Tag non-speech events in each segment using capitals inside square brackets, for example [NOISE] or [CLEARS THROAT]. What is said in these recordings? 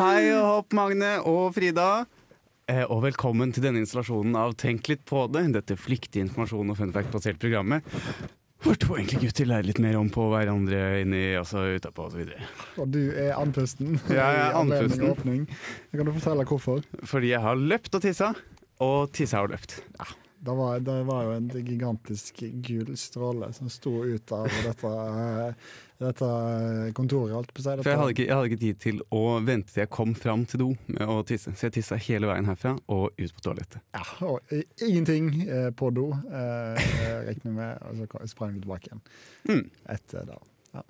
Hei og hopp, Magne og Frida. Eh, Og velkommen til denne installasjonen av Tenk litt på det. Dette flyktige informasjon og fun fact-basert programmet. Hvor to enkle gutter lærer litt mer om på hverandre inni, altså utapå osv. Og du er andpusten. Ja, jeg er I anledning andpusten. Åpning. Kan du fortelle hvorfor? Fordi jeg har løpt og tissa, og tissa og løpt. Det var, det var jo en gigantisk gul stråle som sto ut av dette, eh, dette eh, kontoret, holdt på å si. For jeg hadde, ikke, jeg hadde ikke tid til å vente til jeg kom fram til do med å tisse. Så jeg tissa hele veien herfra og ut på toalettet. Ja, og i- ingenting eh, på do, eh, eh, regner jeg med, og så kom- sprang du tilbake igjen Mm. etter det. Ja.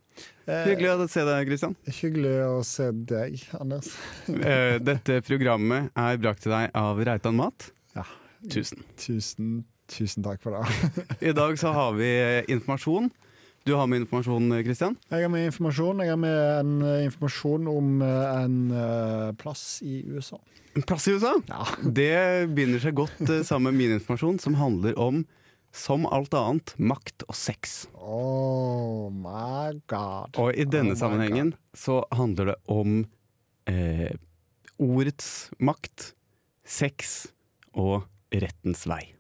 Eh, Hyggelig å se deg, Christian. hyggelig å se deg, Anders. Eh, Dette programmet er brakt til deg av Reitan Mat. Ja. Tusen. Tusen, tusen takk for det. I dag så har vi eh, informasjon. Du har med informasjon, eh, Christian. Jeg har med informasjon. Jeg har med en eh, informasjon om eh, en eh, plass i USA. En plass i USA. Ja. Det binder seg godt eh, sammen med min informasjon, som handler om, som alt annet, makt og sex. Oh my god. Og i denne Oh my sammenhengen så handler det om eh, ordets makt, sex og rettens vei.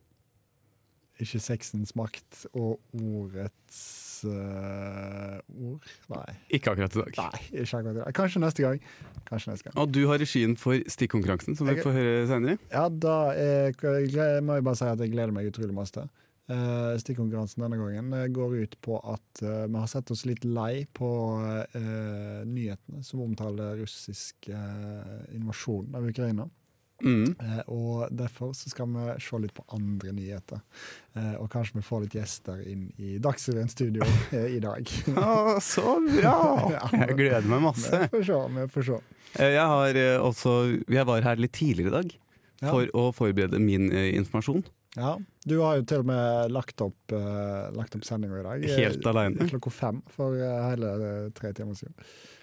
Ikke sexens makt og ordets eh, ord. Nei. Ikke akkurat i dag. Nei, ikke akkurat i dag. Kanskje neste gang. Kanskje neste gang. Og du har regien for stikkonkurransen, som vi Jeg- får høre seinere. Ja, da er, jeg må jeg bare si at jeg gleder meg utrolig masse til. Eh, Stikkonkurransen denne gangen eh, går ut på at eh, vi har sett oss litt lei på eh, nyhetene som omtaler russisk eh, invasjon av Ukraina. Mm. Eh, og derfor så skal vi se litt på andre nyheter. Eh, og kanskje vi får litt gjester inn i Dagsrevyens studio eh, i dag. [LAUGHS] Å, så bra! Ja. Jeg gleder meg masse. Vi får se. Vi får se. Eh, Jeg, har eh, også, jeg var her litt tidligere i dag Ja. for å forberede min eh, informasjon. Ja, Du har jo til og med lagt opp, uh, lagt opp sendinga i dag. eh, Helt alene. [LAUGHS] Klokka fem for eh, hele eh, tre timer siden.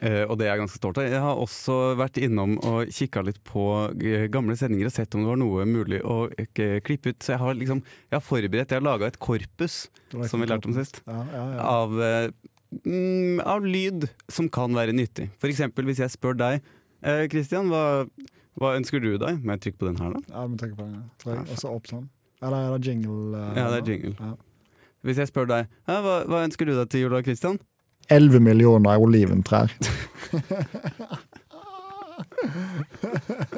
Eh, Og det er jeg ganske stolt av. Jeg har også vært innom og kikka litt på eh, gamle sendinger og sett om det var noe mulig å eh, klippe ut. Så jeg har liksom, jeg har forberedt, jeg har laga et korpus, Du har lagt som vi opp lærte om sist, Ja, ja, ja. av, eh, mm, av lyd som kan være nyttig. F.eks. hvis jeg spør deg, eh, Christian, hva, hva ønsker du deg? Må jeg trykke på den her, da? ja vi trykker på den. ja, Tror jeg. Og så opp sånn. Eller er det jingle? eh, Ja, det nå? er jingle. Ja. Hvis jeg spør deg, «Ja, hva, hva ønsker du deg til jul da, Christian? 11 millioner oliventrær. [LAUGHS]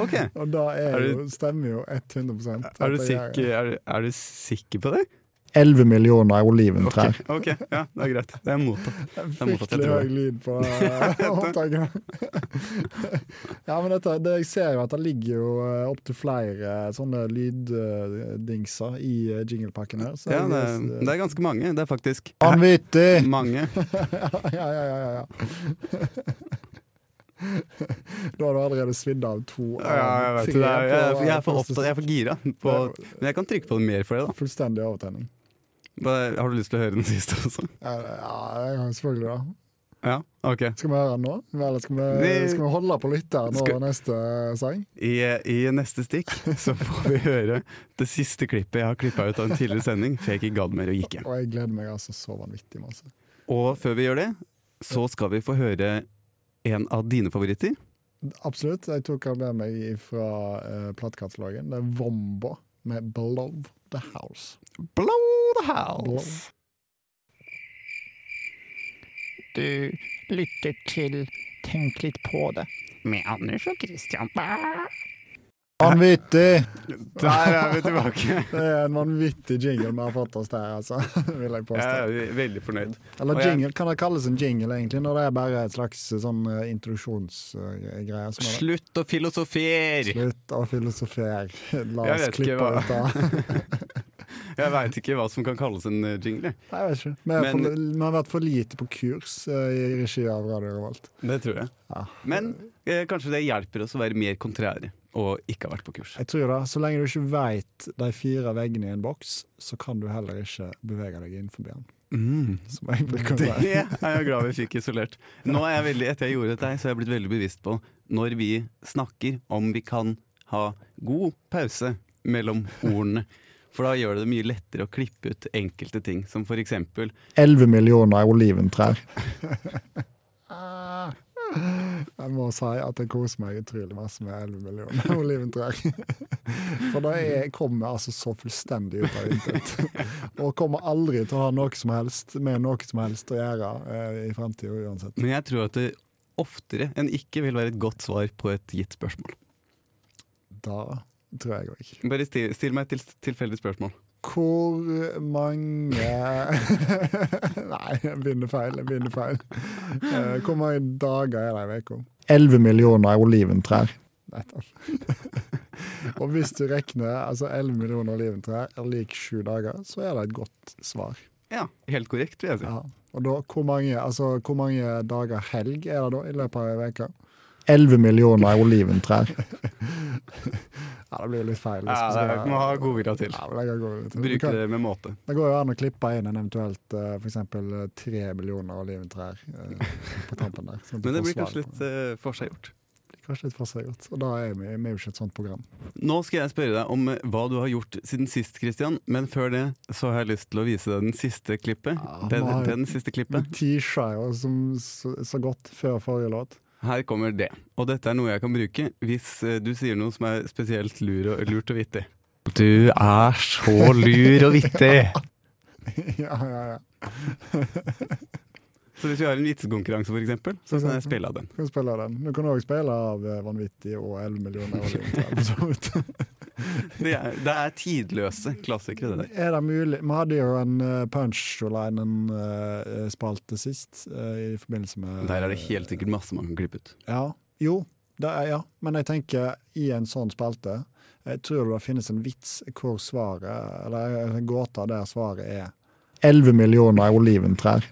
Ok. Og da er, Er du- jo, stemmer jo 100 Er du, at jeg er- sikker, er, er du sikker på det? 11 millioner oliventrær. Ok, ja, det er greit. Det er mottatt. er morsomt, jeg Fryktelig tror høy det. lyd [LAUGHS] på eh, opptaket. [LAUGHS] ja, men dette, det, jeg ser jo at det ligger jo opptil flere eh, sånne lyddingser i eh, jinglepakken her. Så Ja, det, er- jeg- eh, det er ganske mange. Det er faktisk [LAUGHS] Vanvittig! [LAUGHS] mange. ja, ja, ja, ja, [LAUGHS] ja. da har du allerede svidd av to. av Ja, jeg vet det. Det tre er- Jeg, på- eh, jeg er for opptatt, jeg er for gira. På, men jeg kan trykke på det mer for deg, da. Fullstendig overtenning. Bare- Har du lyst til å høre den siste også? Ja, ja, selvfølgelig, da. Ja, ok. Skal vi høre den nå? Eller skal vi, Vi- skal vi holde på lytteren over Skal- neste eh, sang? I, I neste stikk så får vi høre det siste klippet jeg har klippa ut av en tidligere sending. Fake gadd mer og gikk hjem. Og jeg gleder meg altså så vanvittig masse. Og før vi gjør det, så skal vi få høre en av dine favoritter. Absolutt. Jeg tok den med meg fra uh, platekatalogen. Det er Vombo med 'Blow the House'. Blow the house! Du lytter til Tenk litt på det. Med Anders og Christian. Vanvittig! Der er vi [LAUGHS] tilbake. Det er en vanvittig jingle vi har fått oss der, altså. [LAUGHS] Vil jeg Jeg påstå. er veldig fornøyd. Eller og jeg- jingle. Kan det kalles en jingle, egentlig, når det er bare et slags eh, sånn eh, introduksjonsgreie? som er det? Slutt å filosofere! Slutt å filosofere. La Jeg oss vet ikke klippe hva- ut [LAUGHS] av Jeg veit ikke hva som kan kalles en eh, jingle. Nei, jeg vet ikke. Vi, er Men- for, vi har vært for lite på kurs eh, i regi av Radio Revolt. Det tror jeg. Ja. Men eh, kanskje det hjelper oss å være mer kontrære og ikke ha vært på kurs. Jeg tror det. Så lenge du ikke veit de fire veggene i en boks, så kan du heller ikke bevege deg innenfor den. Som jeg bruker å Det si. er jeg glad vi fikk isolert. Nå er jeg veldig, Etter jeg gjorde dette, her, så er jeg blitt veldig bevisst på når vi snakker, om vi kan ha god pause mellom ordene. For da gjør det det mye lettere å klippe ut enkelte ting, som for eksempel 11 millioner oliventrær. Ah, Jeg må si at jeg koser meg utrolig masse med 11 millioner oliventrær. For da er- kommer jeg altså så fullstendig ut av intet. Og kommer aldri til å ha noe som helst med noe som helst å gjøre eh, i framtida uansett. Men jeg tror at det oftere enn ikke vil være et godt svar på et gitt spørsmål. Da tror jeg òg. Bare still, still meg et til, tilfeldig spørsmål. Hvor mange [LAUGHS] Nei, jeg begynner feil. Jeg begynner feil. Eh, Hvor mange dager er det i uka? 11 millioner oliventrær. Nettopp. [LAUGHS] Og hvis du regner altså 11 millioner oliventrær er lik sju dager, så er det et godt svar. Ja, helt korrekt, vil jeg si. Ja. Og da, hvor mange, altså, hvor mange dager helg er det da i løpet av ei uke? 11 millioner oliventrær. [LAUGHS] ja, det blir jo litt feil. hvis Ja, vi det skal- er, må ha godvilja til. Ja, men det kan gå litt. Du Bruke kan- det med måte. det går jo an å klippe inn en eventuelt eh, for eksempel eh, tre millioner oliventrær eh, på tampen der. sånn at du Men det får blir svar kanskje på litt eh, forseggjort. Det blir kanskje litt forseggjort. Og da er vi, vi er jo ikke et sånt program. Nå skal jeg spørre deg om eh, hva du har gjort siden sist, Christian. Men før det så har jeg lyst til å vise deg den siste klippet. Ja, Den, nå har jeg- den siste Vi klippet. teasa jo som, så, så godt før forrige låt. [LAUGHS] Her kommer det. Og dette er noe jeg kan bruke hvis eh, du sier noe som er spesielt lur og, lurt og vittig. Du er så lur og vittig! ja, ja, ja. [LAUGHS] Så hvis vi har en vitsekonkurranse, for eksempel, så sånn kan jeg spille av den. Du kan spille den. Du kan òg spille av eh, Vanvittig og 11 millioner oliventrær. for så vidt. Det er, det er tidløse klassikere, det der. Er det mulig Vi hadde jo en eh, punchline-spalte sist, eh, i forbindelse med Der er det helt sikkert masse man kan klippe ut. Ja. Jo, det er, ja. men jeg tenker i en sånn spalte jeg tror det finnes en vits hvor svaret, eller en gåte der svaret er 11 millioner [LAUGHS] oliventrær.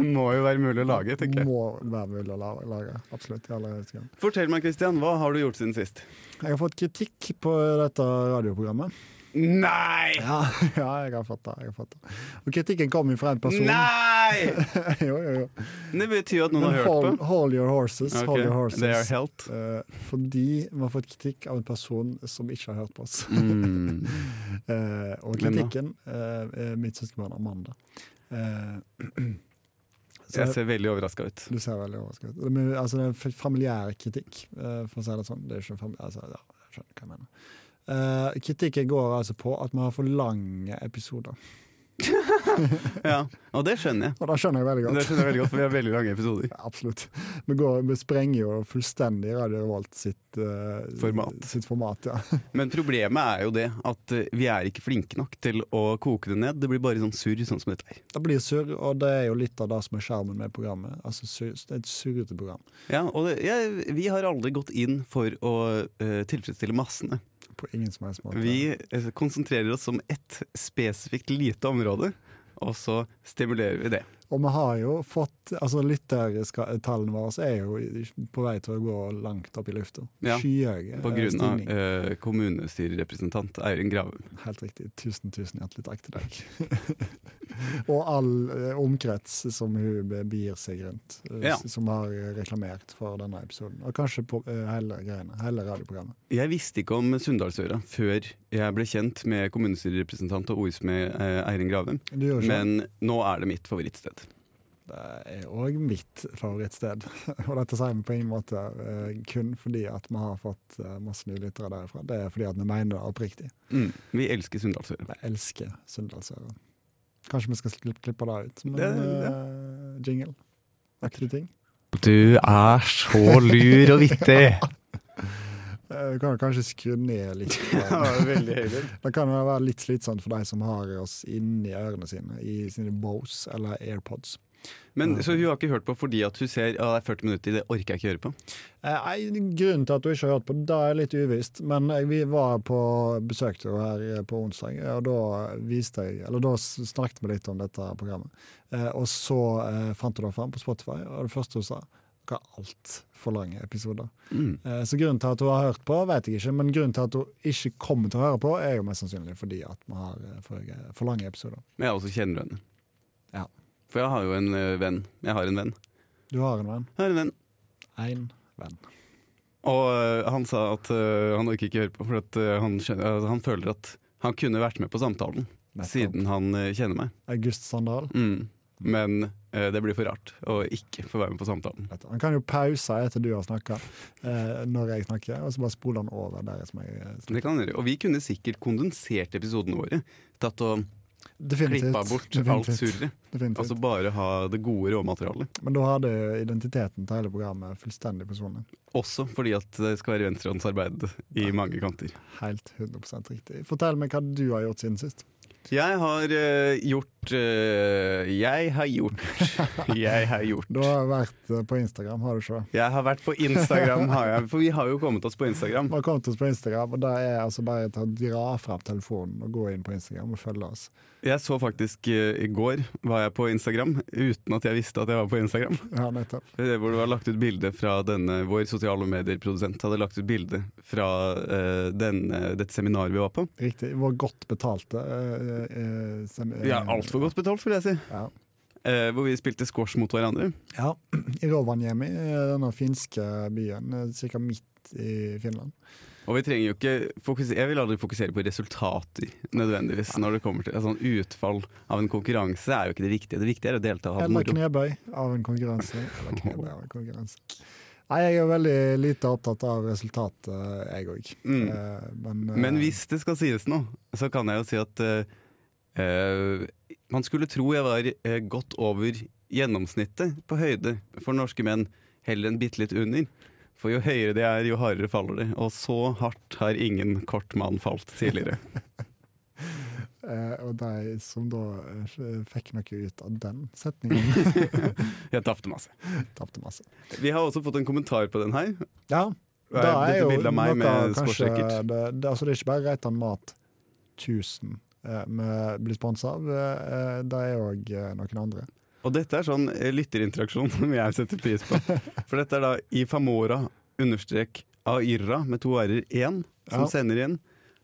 Må jo være mulig å lage, tenker jeg. Må være mulig å la- lage. Absolutt. i aller høyeste grad. Fortell meg, Christian, hva har du gjort siden sist? Jeg har fått kritikk på dette radioprogrammet. Nei! Ja, [LAUGHS] ja jeg har fått det. jeg har fått det. Og kritikken kom jo fra en person. Nei! [LAUGHS] jo, jo, jo. Det betyr jo at noen Men har hørt hold, på. hold your horses. Hold your Ok, horses. They are helt. Eh, fordi vi har fått kritikk av en person som ikke har hørt på oss. Mm. Eh, Hvem og da? kritikken eh, er mitt søskenbarn Amanda. Eh, [CLEARS THROAT] så [LAUGHS] Jeg ser veldig overraska ut. Du ser veldig overrasket ut. Men, altså, det er f- familiær kritikk, eh, for å si det sånn. Det er ikke fam- altså, ja, jeg skjønner hva jeg mener. Eh, kritikken går altså på at vi har for lange episoder. [LAUGHS] Ja, [LAUGHS] Og det skjønner jeg. Og det skjønner jeg veldig Det godt. skjønner jeg veldig godt, for vi har veldig lange episoder. [LAUGHS] Absolutt. Vi, går, vi sprenger jo fullstendig Radio Revolt sitt eh, Format. Sitt format ja. Men problemet er jo det at eh, vi er ikke flinke nok til å koke det ned. Det blir bare sånn surr, sånn som dette her. Det blir surr, og det er jo litt av det som er skjermen med programmet. Altså, sur, det er et surrete program. Ja, og det, jeg- vi har aldri gått inn for å eh, tilfredsstille massene. På ingen som helst måte. Vi eh, konsentrerer oss om ett spesifikt lite område, og så stimulerer vi det. Og vi har jo fått altså Lyttertallene våre er jo i- på vei til å gå langt opp i lufta. Ja. Skyhøye På eh, grunn av stigning. eh, kommunestyrerepresentant Eirin Gravum. Helt riktig. Tusen, tusen hjertelig takk til deg. [LAUGHS] og all eh, omkrets som hun be- begir seg rundt, eh, Ja. s- som har reklamert for denne episoden. Og kanskje på eh, hele greiene, hele radioprogrammet. Jeg visste ikke om Sunndalsøra før jeg ble kjent med kommunestyrerepresentant og ordsmed eh, Eirin Gravum, Du gjør ikke det? men nå er det mitt favorittsted. Det er òg mitt favorittsted. [LAUGHS] og dette sier vi på ingen måte eh, kun fordi at vi har fått eh, masse nye lyttere derifra. Det er fordi at vi mener det oppriktig. Mm. Vi elsker Sunndalsøra. Jeg elsker Sunndalsøra. Kanskje vi skal klippe, klippe det ut som en Det- det- eh, jingle. Aktig ting. Du er så lur og [LAUGHS] vittig! Eh, Du kan jo kanskje skru ned litt. på [LAUGHS] [LAUGHS] den. veldig høylytt. Det kan jo være litt slitsomt for de som har oss inni ørene sine, i sine Bose eller AirPods. Men Så hun har ikke hørt på fordi at hun ser at det er 40 minutter, det orker jeg ikke høre på? Eh, Nei, Grunnen til at du ikke har hørt på, det er litt uvisst. Men jeg- vi var på besøk til henne her eh, på onsdag, og da viste jeg, eller da s- snakket vi litt om dette programmet. Eh, Og så eh, fant hun det fram på Spotify, og det første hun sa, dere har altfor lange episoder. Mm. Eh, Så grunnen til at hun har hørt på, vet jeg ikke, men grunnen til at hun ikke kommer til å høre på, er jo mest sannsynlig fordi at vi har eh, for, for lange episoder. Men jeg også kjenner henne. Ja. For jeg har jo en eh, venn. Jeg har en venn. Du har en venn. Jeg har en venn. Én venn. Og eh, han sa at eh, han orker ikke høre på, for at, eh, han, skjønner, altså, han føler at Han kunne vært med på samtalen, Nettopp. siden han eh, kjenner meg. August Sandal. Mm. Men eh, det blir for rart å ikke få være med på samtalen. Nettopp. Han kan jo pause etter du har snakka, eh, når jeg snakker, og så bare spoler han over der som jeg eh, snakker. Det kan han gjøre. Og vi kunne sikkert kondensert episodene våre. Tatt og Definitivt. klippa bort alt Definitivt. surret. Definitivt. Altså bare ha det gode råmaterialet. Men da hadde jo identiteten til hele programmet fullstendig forsvunnet. Også fordi at det skal være venstrehåndsarbeid i mange kanter. Helt 100 riktig. Fortell meg hva du har gjort siden sist. Jeg har eh, gjort eh, Jeg har gjort [LAUGHS] Jeg har Du gjort har vært eh, på Instagram, har du ikke det? Jeg har vært på Instagram, har jeg. For vi har jo kommet oss på Instagram. Vi har kommet oss på Instagram, og der er altså bare til å dra fram telefonen og gå inn på Instagram og følge oss. Jeg så faktisk eh, i går var jeg på Instagram uten at jeg visste at jeg var på Instagram. Ja, nettopp. Eh, Hvor det var lagt ut bilde fra denne Vår sosiale medier-produsent hadde lagt ut bilde fra eh, denne, dette seminaret vi var på. Riktig. Vår godt betalte eh, eh, sem- Vi har altfor godt betalt, vil jeg si. Ja. Eh, hvor vi spilte squash mot hverandre. Ja, i Rovaniemi, eh, denne finske byen, eh, cirka midt i Finland. Og vi trenger jo ikke fokusere, Jeg vil aldri fokusere på resultater nødvendigvis når det kommer til altså, Utfall av en konkurranse er jo ikke det viktige. Det viktige er å delta og ha det Eller moro. knebøy av en konkurranse. Eller knebøy av en konkurranse. Nei, jeg er veldig lite opptatt av resultatet, jeg òg. Mm. Eh, Men, eh, Men hvis det skal sies noe, så kan jeg jo si at eh, eh, man skulle tro jeg var eh, godt over gjennomsnittet på høyde for norske menn, heller enn bitte litt under. For jo høyere de er, jo hardere faller de. Og så hardt har ingen kort mann falt [LAUGHS] tidligere. eh, Og de som da eh, fikk noe ut av den [LAUGHS] setningen, Jeg tapte masse. tapte masse. Vi har også fått en kommentar på den her. Ja, Det er, dette bildet av meg med sportsracket. det, det, altså det er ikke bare Reitan Mat 1000 eh, vi blir sponsa av, eh, det er òg eh, noen andre. Og dette er sånn eh, lytterinteraksjon [LAUGHS] som jeg setter pris på. For dette er da Ifamora understrek Aira med to r-er én som Ja. sender inn.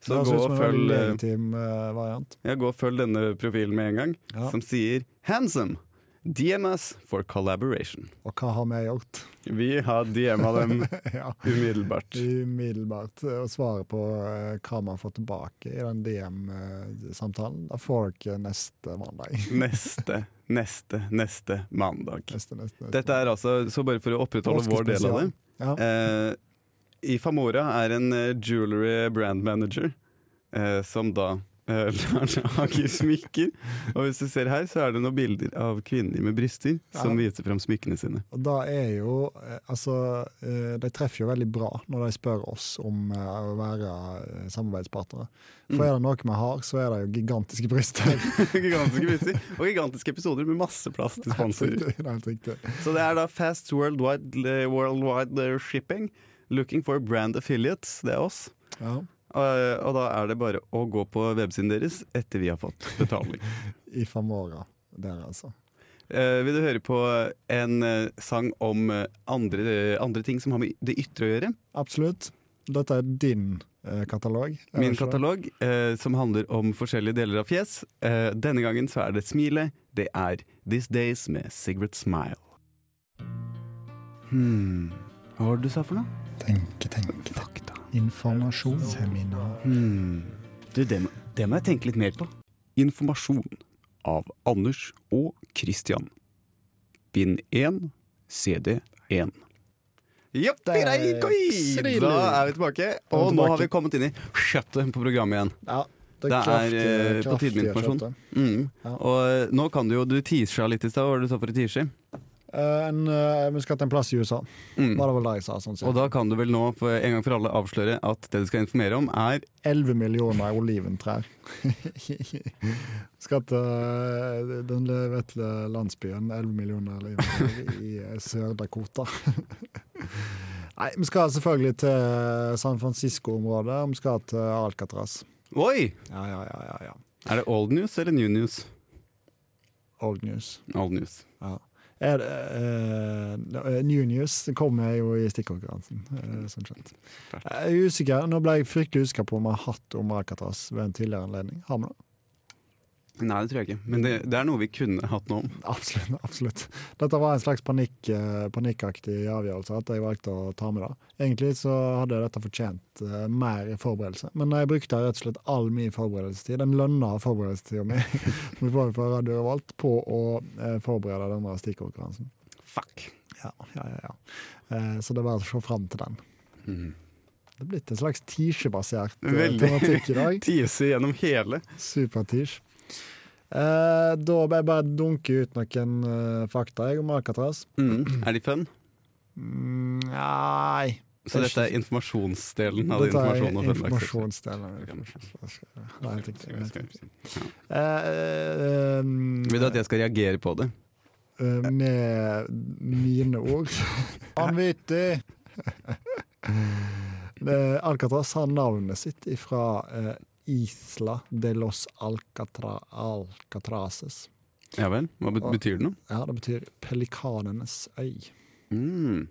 Så det gå høres ut og, som en veldig følg, eh, legitim eh, variant. ja, gå og følg denne profilen med en gang, Ja. som sier 'Handsome'. DMS for collaboration. Og hva har vi gjort? [LAUGHS] Vi har DM-a dem ja. umiddelbart. Umiddelbart eh, å svare på eh, hva man får tilbake i den DM-samtalen. Da får dere neste mandag. [LAUGHS] Neste, neste, neste mandag. Neste, neste, neste. Dette er altså, så bare for å opprettholde vår del av det Påskespesial. Ja. Eh, Ifamora er en eh, jewelry brand manager eh, som da eh, [LAUGHS] lager smykker. Og hvis du ser her, så er det noen bilder av kvinner med bryster som viser fram smykkene sine. Og da er jo eh, Altså, eh, de treffer jo veldig bra når de spør oss om eh, å være eh, samarbeidspartnere. Mm. For er det noe vi har, så er det jo gigantiske bryster. gigantiske bryster Og gigantiske episoder med masse plass til [LAUGHS] [LAUGHS] sponsorer. det er helt riktig. Så det er da Fast Worldwide, eh, worldwide eh, Shipping. Looking for brand affiliates. Det er oss. Ja. Og, og da er det bare å gå på websiden deres etter vi har fått betaling. I Famora. Der, altså. Eh, vil du høre på en eh, sang om eh, andre, andre ting som har med det ytre å gjøre? Absolutt. Dette er din eh, katalog. er Min det ikke det? katalog, eh, som handler om forskjellige deler av fjes. Eh, denne gangen så er det smilet. Det er These Days med Sigrid Smile. Hmm. Hva var det du sa for noe? Tenke, tenke. Fakta. Informasjon. Seminar. Hmm. Du, det, må, det må jeg tenke litt mer på. Informasjon av Anders og Christian. Bind 1, CD 1. Jopp, Der, grei, koi! smiler. Da er vi tilbake, Da er og vi nå tilbake. har vi kommet inn i kjøttet på programmet igjen. Ja, det Det er, kraftige- eh, på tide med kraftige informasjon. kjøttet. Mm. Ja. Og eh, nå kan du jo Du teasa litt i stad, hva var det du sa for å tease? Eh, en, eh, vi skal til en plass i USA, Mm. var det vel det jeg sa. Sånn Og cirka. da kan du vel nå for en gang for alle avsløre at det du skal informere om, er 11 millioner oliventrær. skal til eh, den levetle landsbyen 11 millioner oliventrær i eh, Sør-Dakota. Nei, vi skal selvfølgelig til eh, San Francisco-området, og vi skal til Alcatraz. Oi! Ja, ja, ja, ja, ja. Er det old news eller new news? Old news. Old news. Ja. Er det, eh, new news kommer jo i stikkonkurransen, eh, som kjent. Jeg er usikker, Nå ble jeg fryktelig usikker på om vi har hatt om Alcatraz ved en tidligere anledning. Har vi det? Nei, det tror jeg ikke. Men det, det er noe vi kunne hatt noe om. [LAUGHS] Absolutt. absolutt. Dette var en slags panikk, eh, panikkaktig avgjørelse at jeg valgte å ta med det. Egentlig så hadde dette fortjent eh, mer forberedelse, men jeg brukte rett og slett all min forberedelsestid, den lønna forberedelsestida mi, [LAUGHS] som vi får fra Radio Revolt, på å eh, forberede denne stikkonkurransen. Fuck. Ja, ja, ja, ja. Eh, Så det er bare å se fram til den. Mm. Det er blitt en slags tisjebasert eh, Veldig. tematikk i dag. [LAUGHS] Tise gjennom hele. Supertish. Eh, da må jeg bare dunke ut noen eh, fakta jeg, om Alcatraz. Mm. Er de fun? Mm, nei Så dette er informasjonsdelen av Dette er informasjonen? og fun facts. informasjonsdelen. Det er helt riktig, det er helt riktig. Eh, Vil du at eh, jeg skal reagere på det? eh, Med mine ord Vanvittig! [LAUGHS] Eh, Alcatraz har navnet sitt ifra eh, Isla de los Alcatra Alcatraces. Ja vel? Hva bet- betyr det noe? Ja, det betyr pelikanenes øy. Mm.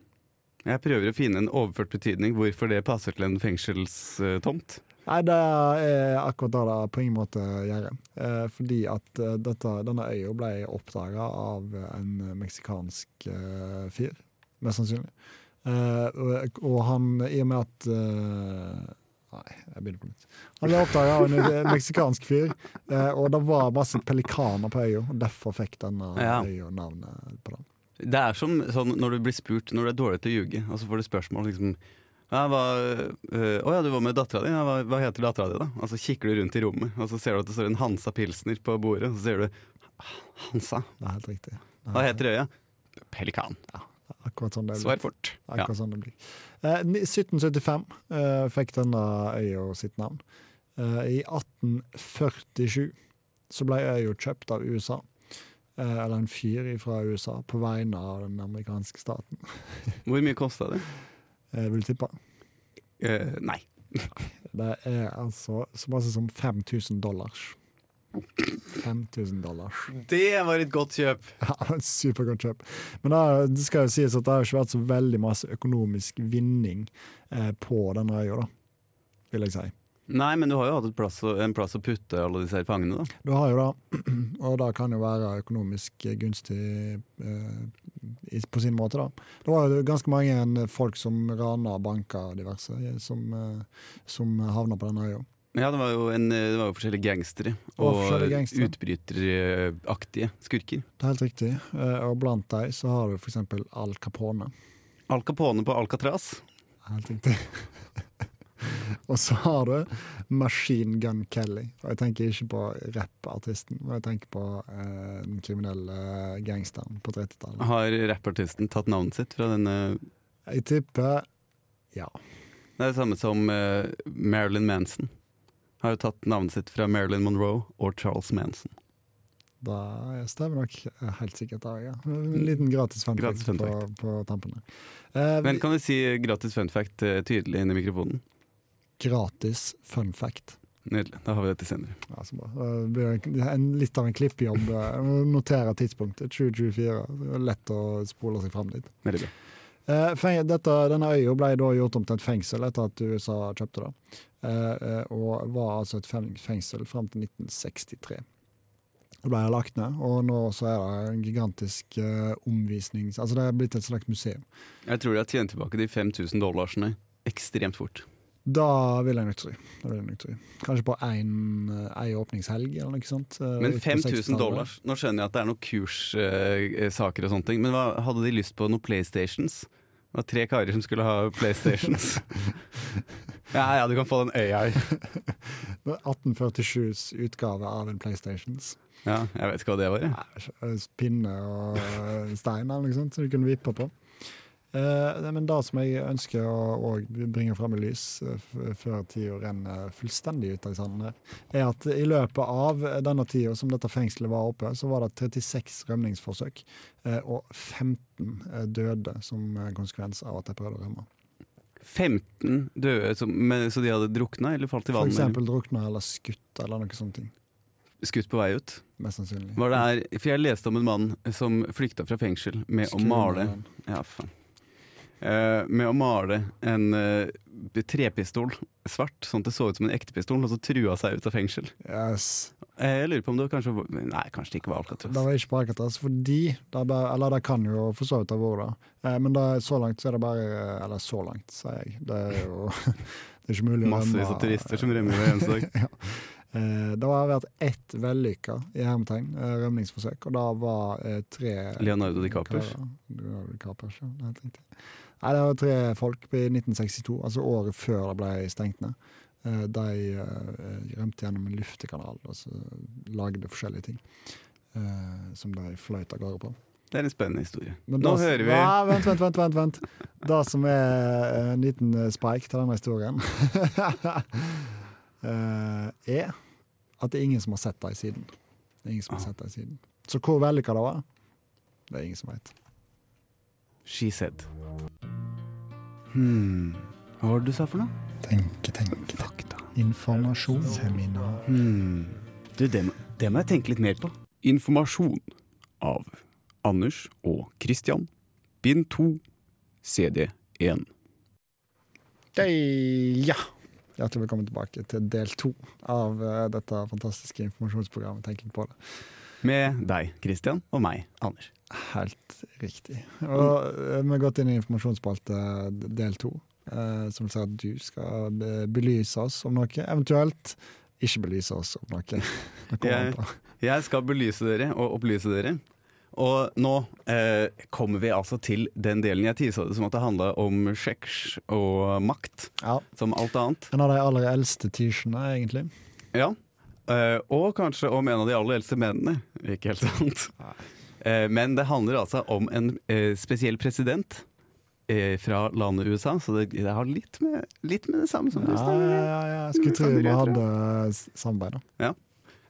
Jeg prøver å finne en overført betydning hvorfor det passer til en fengselstomt. Nei, det er akkurat det det på ingen måte gjør. Eh, fordi at eh, dette, denne øya ble oppdaga av en meksikansk eh, fyr, mest sannsynlig. Eh, og, og han, i og med at eh, Nei, jeg begynner på nytt. Han ble oppdaga av en eh, [LAUGHS] meksikansk fyr, eh, og det var masse pelikaner på øya. og Derfor fikk denne Ja. øya navnet på den. Det er som sånn når du blir spurt når du er dårlig til å ljuge, og så får du spørsmål liksom ja, hva, øh, å ja, du var med dattera di. Ja, hva, hva heter dattera di, da? Og så kikker du rundt i rommet, og så ser du at det står en Hansa Pilsner på bordet. Og så ser du Hansa. Det er helt riktig. Det er Hva helt heter øya? Pelikan. riktig. akkurat sånn det er. Svar fort. Det er Ja. akkurat sånn det blir. Eh, ni- 1775 eh, fikk denne øya sitt navn. Eh, I 1847 så ble øya kjøpt av USA. Eh, eller en fyr fra USA på vegne av den amerikanske staten. Hvor mye kosta det? Eh, vil du tippe? Eh, nei. Det er altså så masse som 5000 dollars. 5000 dollars. [LAUGHS] Det var et godt kjøp! Ja, det var et Supergodt kjøp. Men da, det skal jo sies at det har ikke vært så veldig masse økonomisk vinning eh, på denne øya, da, vil jeg si. Nei, men du har jo hatt et plass å, en plass å putte alle disse her fangene, da. Du har jo det, [CLEARS THROAT] og det kan jo være økonomisk gunstig eh, i- på sin måte, da. Det var jo ganske mange folk som rana banker og diverse, eh, som, eh, som havna på denne øya. Ja, det var jo, en, det var jo forskjellige gangstere. var Og forskjellige gangstere. utbryteraktige skurker. Det er helt riktig. Eh, og blant dem så har du f.eks. Al Capone. Al Capone på Alcatraz. Helt riktig. [LAUGHS] og så har du Machine Gun Kelly. Og jeg tenker ikke på rappartisten, men jeg tenker på eh, den kriminelle gangsteren på 30-tallet. Har rappartisten tatt navnet sitt fra denne Jeg tipper ja. Det er det samme som eh, Marilyn Manson. Har jo tatt navnet sitt fra Marilyn Monroe og Charles Manson. Da stemmer nok eh, helt sikkert det. Ja. En liten gratis fun Gratis fact fun på, på tampene. Eh, Men kan vi si gratis fun fact eh, tydelig inn i mikrofonen? Gratis fun fact. Nydelig. Da har vi dette senere. Ja, så bra. Eh, Det blir en- en, litt av en klippjobb. eh, Jeg må Notere tidspunktet. 2024. Det er Lett å spole seg fram dit. Veldig bra. Eh, feng- Dette, denne øya ble da gjort om til et fengsel etter at USA kjøpte det. Eh, eh, Og var altså et feng- fengsel fram til 1963. Det ble lagt ned, og nå så er det en gigantisk eh, omvisning Altså det er blitt et slags museum. Jeg tror de har tjent tilbake de 5000 dollarsene ekstremt fort. Da vil jeg nok tro. Da vil jeg nok tro. Kanskje på én åpningshelg eller noe sånt. eh, Men ut på 5000 60-tallet. dollars Nå skjønner jeg at det er noen kurssaker og sånne ting, men hva, hadde de lyst på noen PlayStations? Det var tre karer som skulle ha PlayStations. [LAUGHS] ja, ja, du kan få den [LAUGHS] øya her. Det er 1847s utgave av en PlayStations. Ja, jeg vet ikke hva det var. jeg. Eh, Pinne og eh, stein eller noe sånt som du kunne vippe på. Eh, nei, men det som jeg ønsker å og bringe fram i lys eh, f- før tida renner fullstendig ut av sanden, her, er at i løpet av denne tida som dette fengselet var oppe, så var det 36 rømningsforsøk eh, og 15 døde som eh, konsekvens av at de prøvde å rømme. 15 døde, som, men, så de hadde drukna eller falt i For vannet? eksempel drukna eller skutt eller noe sånt. eller Skutt på vei ut? Mest sannsynlig. Var det her, for jeg leste om en mann som flykta fra fengsel med Skru å male ned den. Ja, faen. Eh, med å male en eh, trepistol svart, sånn at det så ut som en ekte pistol, og så trua seg ut av fengsel. Yes. Eh, Jeg lurer på om det kanskje var- Nei, kanskje det ikke var Alcatraz. Det var ikke på Alcatraz, fordi det ble, Eller det kan jo for så vidt ha vært det. Eh, Men det, så langt så er det bare eh, Eller så langt, sier jeg. Det er jo [LAUGHS] det er ikke mulig å Massevis rømme- av turister som rømmer hver eneste dag. [LAUGHS] Eh, Det har vært ett vellykka i hermetegn, eh, rømningsforsøk, og det var eh, tre Leonardo DiCapers. karer. Leonardo DiCapers, ja, det er helt riktig. Nei, det var tre folk i 1962, altså året før det ble stengt ned. Eh, De eh, rømte gjennom en luftekanal og så lagde forskjellige ting eh, som de fløyt av gårde på. Det er en spennende historie. Men Nå det- hører vi Nei, vent, vent, vent, vent, vent. Det som er en liten eh, spike til denne historien, [LAUGHS] eh, er at det er ingen som har sett det i siden. Det er ingen som har sett det i siden. Så hvor vellykka det var, det er ingen som veit. She said. Hmm. Hva var det du sa for noe? Tenke, tenke. Fakta. Informasjon. Seminar. Hmm. Du, det må, det må jeg tenke litt mer på. Informasjon av Anders og Christian. Bind 2, CD 1. ja. Hjertelig velkommen tilbake til del to av eh, dette fantastiske informasjonsprogrammet. Tenk på det. Med deg, Christian, og meg, Anders. Helt riktig. Og eh, vi har gått inn i informasjonsspalte del to, eh, som vil si at du skal be- belyse oss om noe. Eventuelt ikke belyse oss om noe. Det kommer an Jeg- på. Jeg skal belyse dere og opplyse dere. Og nå eh, kommer vi altså til den delen jeg tisa det som at det handla om sjekks og makt, Ja. som alt annet. En av de aller eldste tirsjene, egentlig. Ja. Eh, og kanskje om en av de aller eldste mennene. Ikke helt sant. Eh, men det handler altså om en eh, spesiell president eh, fra landet USA, så det, det har litt med, litt med det samme som Ja, du ja, snakker om. ja, ja. Jeg skulle tro Familie, vi tror jeg. hadde s- samarbeid, da.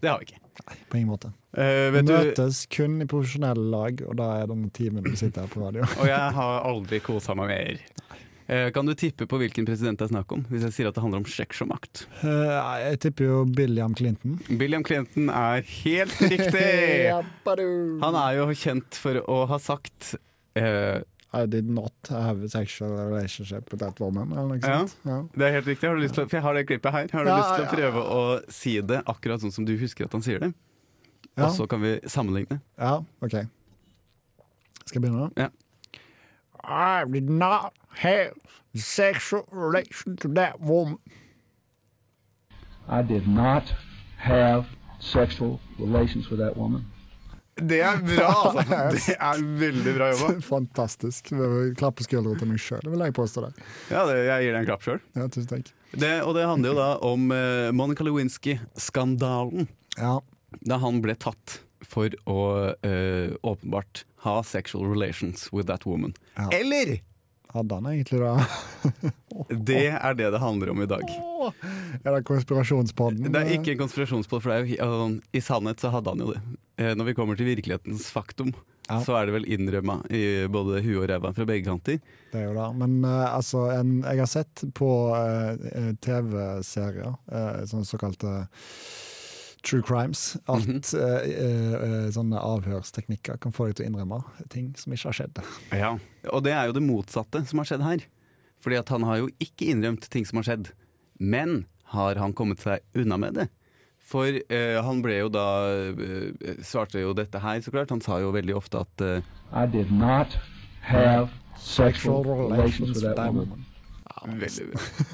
Det har vi ikke. Nei, på ingen måte. Eh, Vi vet du, møtes kun i profesjonelle lag, og da er denne timen vi sitter her på radio. [LAUGHS] og jeg har aldri kosa meg mer. Eh, kan du tippe på hvilken president det er snakk om, hvis jeg sier at det handler om sjekks og makt? Eh, Jeg tipper jo Billiam Clinton. William Clinton er helt riktig! Jabbadu. Han er jo kjent for å ha sagt eh, I did not have a sexual relationship with that woman. Eller noe Ja. sånt. Ja. Det er helt riktig. Har du lyst til å, for jeg har det klippet her. Har du Ja, lyst til å ja. prøve å si det akkurat sånn som du husker at han sier det? Ja. Og så kan vi sammenligne. ja, OK. Skal jeg begynne? Ja. I did not have sexual relation to that woman. I did not have sexual relations with that woman. Det er bra, [LAUGHS] altså! Det er veldig bra jobba. [LAUGHS] Fantastisk. Klapp på skuldra til meg sjøl, vil jeg påstå. det. [LAUGHS] Ja, det, jeg gir deg en klapp sjøl. Ja, tusen takk. Og det handler jo da om eh, Monica Lewinsky-skandalen. Ja, Da han ble tatt for å eh, åpenbart ha sexual relations with that woman. Ja. Eller! hadde han egentlig det? [LAUGHS] Det er det det handler om i dag. Er det konspirasjonspodden? Det er ikke en konspirasjonspål, for det er jo, altså, i sannhet så hadde han jo det. Eh, Når vi kommer til virkelighetens faktum, Ja. så er det vel innrømma i både huet og ræva fra begge kanter. Det er jo det. Men eh, altså, en, jeg har sett på eh, eh, TV-serier, eh, sånne såkalte True crimes. At Mhm. eh, eh, eh, sånne avhørsteknikker kan få deg til å innrømme ting som ikke har skjedd. Og det er jo det motsatte som har skjedd her. Fordi at han har jo ikke innrømt ting som har skjedd. Men har han kommet seg unna med det? For eh, han ble jo da eh, Svarte jo dette her, så klart. Han sa jo veldig ofte at eh, I did not have sexual relations with that woman. Veldig bra.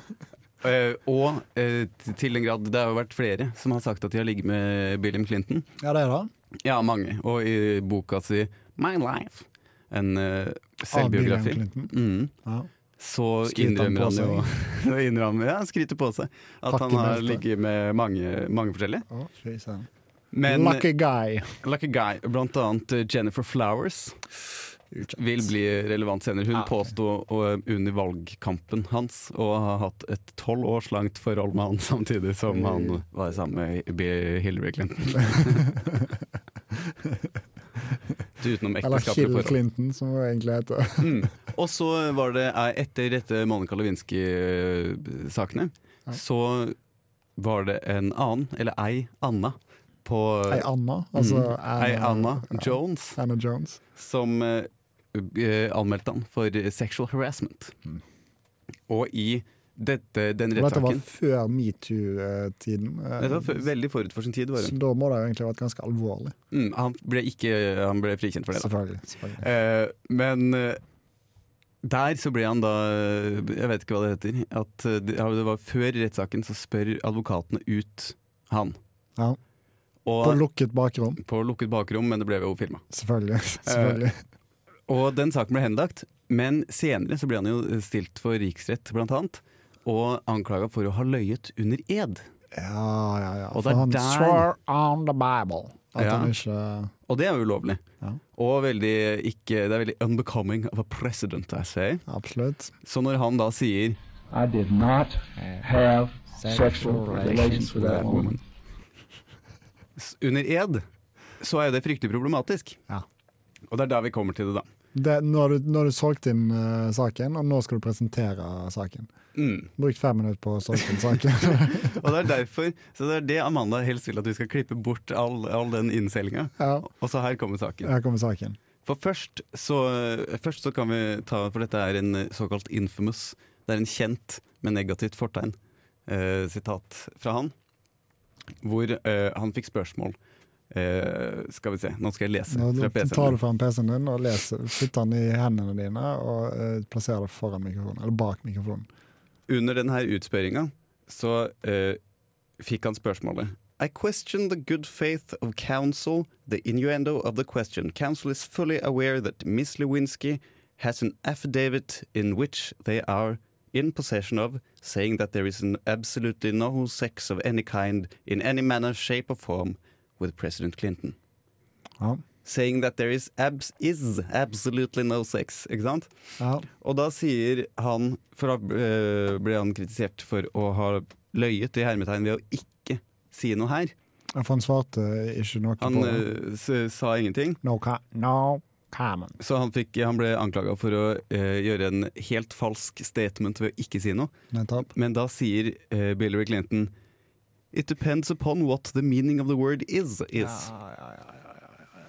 Eh, og eh, t- til en grad Det har jo vært flere som har sagt at de har ligget med William Clinton. Ja, det er det. Ja, mange. Og i boka si My Life, en eh, Av Bill selvbiografi, Clinton. mm, Ja. så Skryter han innrømmer på han jo [LAUGHS] Da innrømmer, ja, han skryter på seg at Hakk i han har beltet. ligget med mange, mange forskjellige. Å, fy søren. Men Lucky guy. Lucky Guy, blant annet eh, Jennifer Flowers, vil [LAUGHS] bli relevant senere. Hun påsto eh, under valgkampen hans å ha hatt et tolv års langt forhold med han samtidig Mm. som han var sammen med Bi- Hillary Clinton. Utenom Eller ekteskapelige Kill forhold. Clinton, som hun egentlig heter. Mm. Og så var det eh, etter dette Monica Lewinsky-sakene, så var det en annen, eller ei anna, på Ei Anna. Altså Anna, Ei Mm. Anna Jones Anna Jones. som eh, Mm. eh, anmeldte han for sexual harassment. Og i dette, den Og Dette var rettssaken før metoo-tiden. eh, Dette var før- veldig forut for sin tid. Var Så det. da må det jo egentlig ha vært ganske alvorlig. Mm, han, ble ikke, han ble frikjent for det. da. Selvfølgelig. selvfølgelig. Eh, men eh, der så ble han da eh, Jeg vet ikke hva det heter. At eh, det ja, det var før rettssaken, så spør advokatene ut han. Ja. Og, På på, lukket bakrom. lukket bakrom, men det ble jo filma. Selvfølgelig. [LAUGHS] Eh, selvfølgelig. Og den saken ble henlagt, men senere så ble han jo stilt for riksrett, blant annet. Og anklaga for å ha løyet under ed. Ja, ja, ja. Og For det er han der swore on the Bible. At Ja. han ikke Og det er jo ulovlig. Ja. Og veldig ikke Det er veldig unbecoming of a president, I say. Absolutt. Så når han da sier I did not have sexual relations with that woman. s- under ed, så er jo det fryktelig problematisk. Ja. Og det er da vi kommer til det, da. Det, når, du, når du solgte inn eh, saken, og nå skal du presentere saken. Mm. Brukt fem minutter på å solge inn [LAUGHS] saken. Og det er derfor Så det er det Amanda helst vil at vi skal klippe bort all, all den innselginga. ja, Og så her kommer saken. her kommer saken. For først så, først så kan vi ta For dette er en såkalt infamous. Det er en kjent med negativt fortegn. Eh, sitat fra han. Hvor eh, han fikk spørsmål eh, Skal vi se, nå skal jeg lese Nå fra PC-en. tar du fram PC-en din og leser, sitter den i hendene dine og eh, plasserer det foran mikrofonen, eller bak mikrofonen. Under denne utspørringa så eh, fikk han spørsmålet I question the good faith of counsel, the innuendo of the question. Counsel is fully aware that Miss Lewinsky has an affidavit in which they are in possession of, saying that there is an absolutely no sex of any kind, in any manner, shape or form, with President Clinton. Ja. Saying that there is, abs is absolutely no sex, ikke sant? Ja. Og da sier han For da eh, ble han kritisert for å ha løyet i hermetegn ved å ikke si noe her. For han svarte ikke noe Han på det. eh, s- sa ingenting, No, co- no comment. så han, fikk, han ble anklaga for å eh, gjøre en helt falsk statement ved å ikke si noe. Nettopp. Men da sier eh, Hillary Clinton It depends upon what the meaning of the word is. is.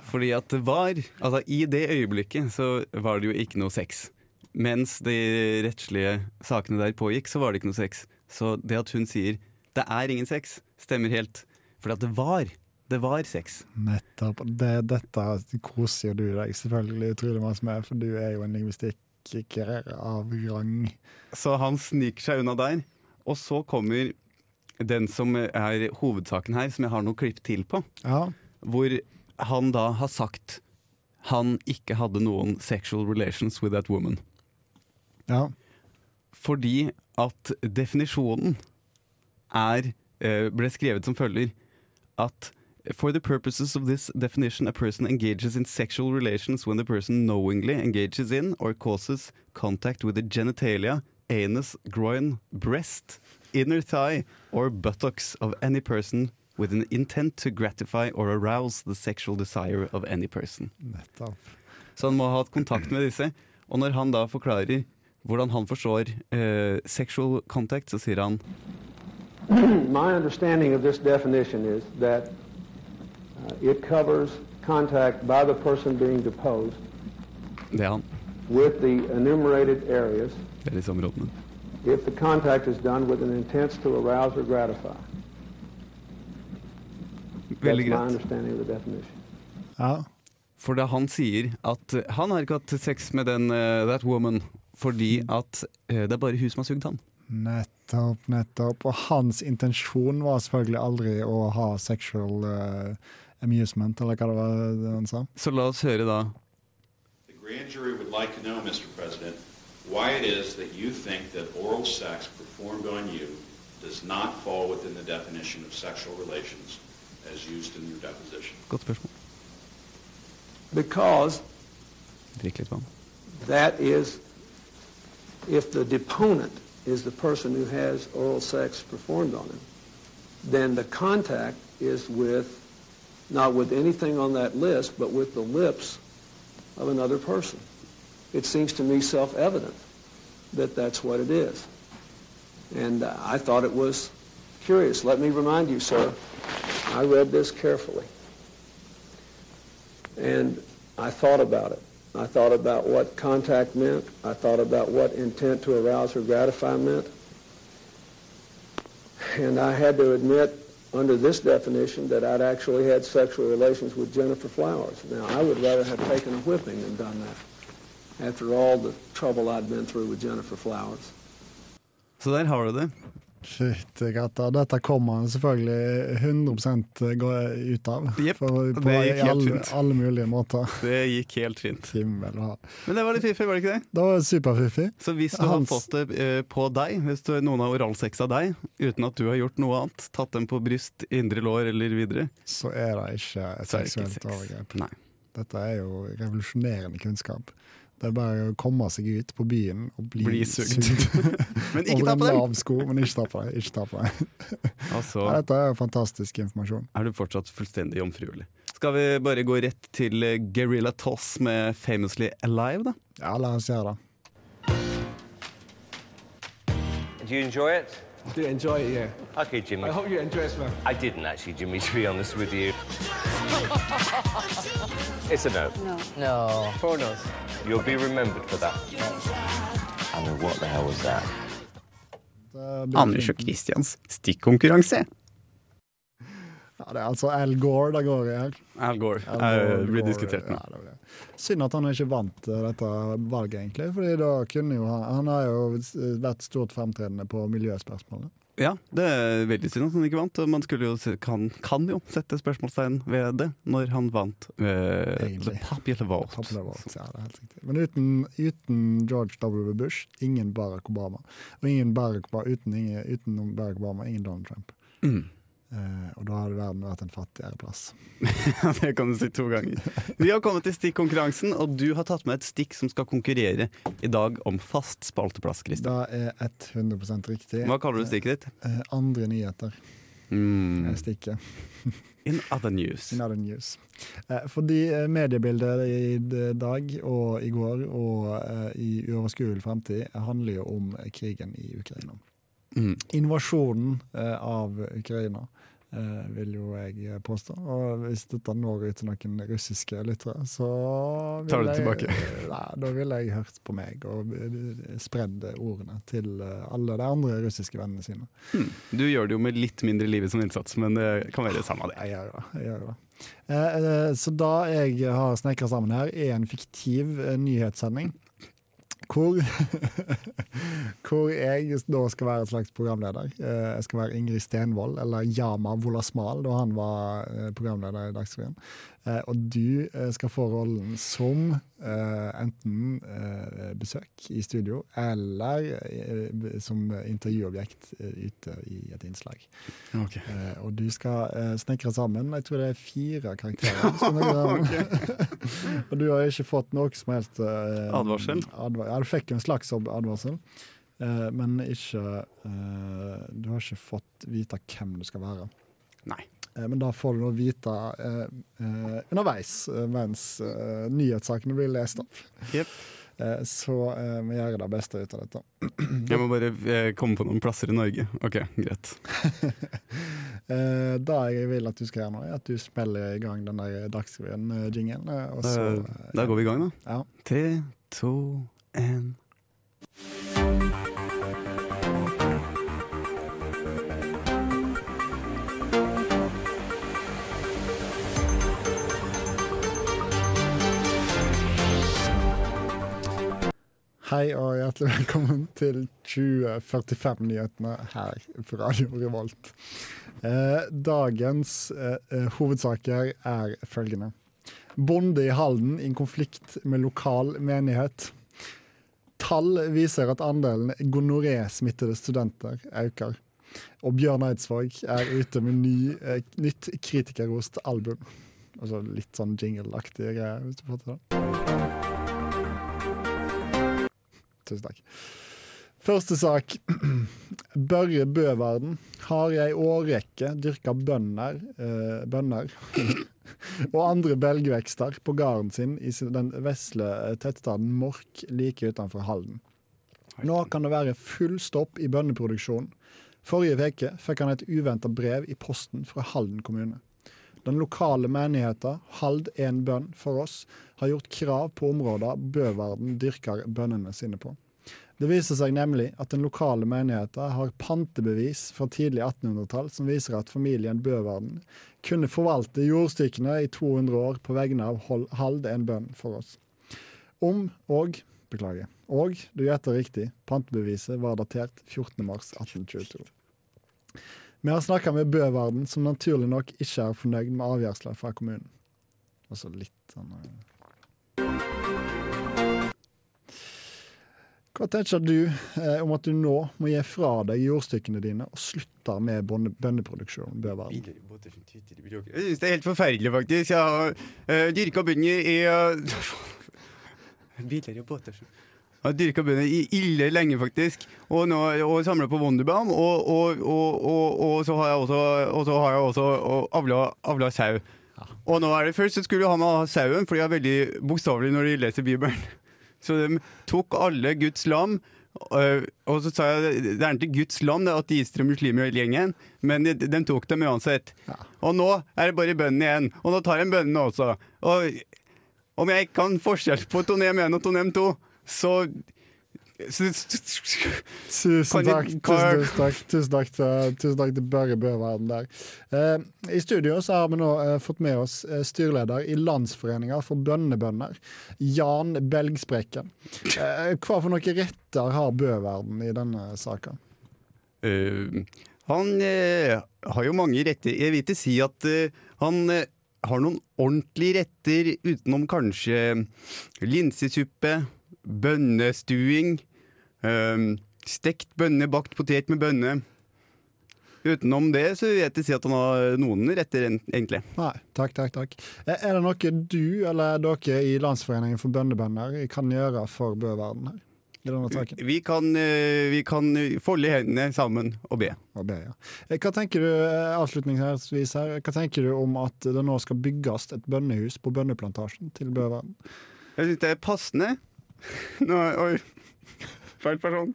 Fordi at det var Altså, i det øyeblikket så var det jo ikke noe sex. Mens de rettslige sakene der pågikk, så var det ikke noe sex. Så det at hun sier 'det er ingen sex', stemmer helt. Fordi at det var. Det var sex. Nettopp. Det, dette koser jo du deg selvfølgelig utrolig masse med, for du er jo en lingvistikker av rang. Så han sniker seg unna der. Og så kommer den som er hovedsaken her, som jeg har noe klipp til på. Ja. hvor han da har sagt han ikke hadde noen sexual relations with that woman. ja. Fordi at definisjonen er, eh, ble skrevet som følger at For the purposes of this definition, a person engages in sexual relations when the person knowingly engages in or causes contact with the genitalia, anus, groin, breast, inner thigh or buttocks of any person with an intent to gratify or arouse the sexual desire of any person. Nettopp. Så han må ha hatt kontakt med disse. Og når han da forklarer hvordan han forstår eh, sexual contact, så sier han My understanding of this definition is that uh, it covers contact by the person being deposed Det er han. with the enumerated areas Det er disse områdene. if the contact is done with an intent to arouse or gratify. That's Veldig my greit. understanding of the definition. Ja. For da han sier at eh, han har ikke hatt sex med den eh, that woman fordi at eh, det er bare hun som har sugd han. Nettopp, nettopp. Og hans intensjon var selvfølgelig aldri å ha sexual eh, amusement, eller hva det var det han sa. Så la oss høre da. The grand jury would like to know, Mr. President, why it is that you think that oral sex performed on you does not fall within the definition of sexual relations as used in your deposition. Godt spørsmål. Because Drikk litt vann. that is, if the deponent is the person who has oral sex performed on him, then the contact is with, not with anything on that list, but with the lips of another person. It seems to me self-evident that that's what it is. And uh, I thought it was curious. Let me remind you, sir, I read this carefully. And I thought about it. I thought about what contact meant. I thought about what intent to arouse or gratify meant. And I had to admit, under this definition, that I'd actually had sexual relations with Jennifer Flowers. Now, I would rather have taken a whipping than done that, after all the trouble I'd been through with Jennifer Flowers. Så der har du det. Shit, Greta. Dette kommer han selvfølgelig 100 gå ut av. Jep, for det på gikk helt alle, fint. alle mulige måter. [LAUGHS] Det gikk helt fint. Himmel og hav. Men det var litt fiffig, var det ikke det? Det var superfiffig. Så hvis du Hans. har fått det eh, på deg, hvis du, noen har oralsex av deg, uten at du har gjort noe annet, tatt dem på bryst, indre lår eller videre, Så er det ikke et så er det ikke seksuelt sex. overgrep. Nei. Dette er jo revolusjonerende kunnskap. Det er bare å komme seg ut på byen og bli, Bli sugd. [LAUGHS] [LAUGHS] Men ikke Over ta en på dem! lav sko, men ikke ta på deg. Ikke ta på deg. Altså, Ja, Dette er jo fantastisk informasjon. er du fortsatt fullstendig jomfruelig. Skal vi bare gå rett til eh, Guerrilla Toss med Famously Alive, da? Ja, la oss gjøre det. Do you enjoy it? Do you enjoy it, yeah. Okay, Jimmy. I hope you enjoy it, man. I didn't actually, Jimmy, [LAUGHS] to be honest with you. it's a no. No. Pornos. You'll be remembered for that. I mean, what the hell was that? Det blir Anders fint. og Christians stikkonkurranse. Ja, det er altså Al Gore det går i her. Al Gore Al er Gore blir går- diskutert nå. Ja, det var det. Synd at han ikke vant eh, dette valget, egentlig. Fordi da kunne jo han, han har jo eh, vært stort fremtredende på miljøspørsmålene. Ja, det er veldig synd at han ikke vant. og Man skulle jo, se- kan, kan jo sette spørsmålstegn ved det når han vant eh, Egentlig. Le Popular Vote. Popular vote, ja, det er helt riktig. Men uten, uten George W. Bush, ingen Barack Obama. Og ingen Barack Obama, uten, ingen, uten Barack Obama, ingen Donald Trump. Eh, og da hadde verden vært en fattigere plass. Ja, [LAUGHS] det kan du si to ganger. Vi har kommet til stikkonkurransen, og du har tatt med et stikk som skal konkurrere i dag om fast spalteplass, Kristian. Det er 100 riktig. Hva kaller du stikket ditt? Eh, andre nyheter Mm. er stikket. In other news. In other news. Eh, Fordi eh, mediebildet i d- dag og i går og eh, i uoverskuelig fremtid handler jo om krigen i Ukraina. Mm. Invasjonen eh, av Ukraina, eh, vil jo jeg påstå. Og hvis dette når ut til noen russiske lyttere, så vil Tar du det jeg- [LAUGHS] Nei, da ville jeg hørt på meg og eh, spredd ordene til eh, alle de andre russiske vennene sine. Du gjør det jo med litt mindre livet som innsats, men det kan være det samme det. Jeg gjør det. Jeg gjør det. Eh, eh, så det jeg har snekra sammen her, er en fiktiv eh, nyhetssending. Hvor, [LAUGHS] hvor jeg da skal være et slags programleder. Eh, Jeg skal være Ingrid Stenvold, eller Yama Wolasmal, da han var eh, programleder i Dagsrevyen. Eh, Og du eh, skal få rollen som eh, enten eh, besøk i studio, eller eh, b- som intervjuobjekt eh, ute i et innslag. Eh, og du skal eh, snekre sammen Jeg tror det er fire karakterer. [LAUGHS] skal du gjøre. [LAUGHS] og du har ikke fått noe som helst eh, Advarsel? adva- ja, du fikk en slags ob- advarsel, eh, men ikke eh, Du har ikke fått vite hvem du skal være. Nei. Eh, men da får du nå vite eh, eh, underveis eh, mens eh, nyhetssakene blir lest opp. Jep. Eh, så eh, vi gjør det beste ut av dette. Jeg må bare eh, komme på noen plasser i Norge. Ok, greit. Eh, det jeg vil at du skal gjøre nå, er at du smeller i gang den der Dagsrevyen-jingen. Eh, og så eh, Da går vi i gang, da. ja. Tre, to, én. Hei og hjertelig velkommen til 2045-nyhetene her på Radio Revolt. Eh, dagens eh, eh, hovedsaker er følgende. Bonde i Halden i konflikt med lokal menighet. Tall viser at andelen gonoré-smittede studenter øker. Og Bjørn Eidsvåg er ute med ny, eh, nytt kritikerrost album. Altså litt sånn jingle-aktige greier, hvis du får til det. Tusen takk. Første sak. Børre Bøverden har i ei årrekke dyrka bønner, eh, bønner [LAUGHS] og andre belgvekster på gården sin i sin- den vesle eh, tettstaden Mork like utenfor Halden. Nå kan det være full stopp i bønneproduksjonen. Forrige uke fikk han et uventa brev i posten fra Halden kommune. Den lokale menigheten Hald en bønn for oss har gjort krav på områder Bøverden dyrker bønnene sine på. Det viser seg nemlig at den lokale menigheten har pantebevis fra tidlig 1800-tall som viser at familien Bøverden kunne forvalte jordstykkene i 200 år på vegne av Hol- Hald en bønn for oss. Om og Beklager. Og, du gjetter riktig, pantebeviset var datert 14.3.1822. Vi har snakka med Bøverden, som naturlig nok ikke er fornøyd med avgjørelsen fra kommunen. Altså litt sånn eh. Hva tenker du eh, om at du nå må gi fra deg jordstykkene dine og slutte med bonde- bønneproduksjon, Bøverden? Jeg syns det er helt forferdelig, faktisk. Jeg har uh, dyrka bønder i uh, [LAUGHS] Biler og båter som Jeg har dyrka bønder i ille lenge, faktisk. Og, nå, og samler på Wonderbaum. Og, og, og, og, og så har jeg også, og så har jeg også og avla- avla sau. Og nå er det først så skulle han ha sauen, for de er veldig bokstavelige når de leser Bibelen. [LAUGHS] Så de tok alle Guds lam. øh, Og så sa jeg det er ikke Guds lam, det er ateister og muslimer og hele gjengen. Men de, de tok dem uansett. Og nå er det bare bøndene igjen. Og nå tar de bøndene også. Og om jeg ikke kan forskjell på Tonem 1 og Tonem 2, så så- Tusen Kan takk, jeg- kan tusen, jeg- tusen takk, tusen takk, til, tusen takk til Børre Bøverden der. Eh, I studio så har vi nå eh, fått med oss eh, styreleder i Landsforeninga for bønnebønder, Jan Belgsprekken. Eh, hva for noen retter har Bøverden i denne saka? Eh, Han eh, har jo mange retter. Jeg vil ikke si at eh, han eh, har noen ordentlige retter utenom kanskje linsesuppe, bønnestuing, eh, stekt bønne, bakt potet med bønne. Utenom det så vil jeg ikke si at han har noen retter, en- egentlig. Nei, takk, takk, takk. Eh, er det noe du eller dere i Landsforeningen for bønnebønder kan gjøre for Bøverden her? I denne saken? Vi kan, eh, vi kan folde hendene sammen og be. Og det, ja. Eh, Hva tenker du eh, avslutningsvis her, hva tenker du om at det nå skal bygges et bønnehus på bønneplantasjen til Bøverden? Jeg syns det er passende. [LAUGHS] Nå, oi. Feil person.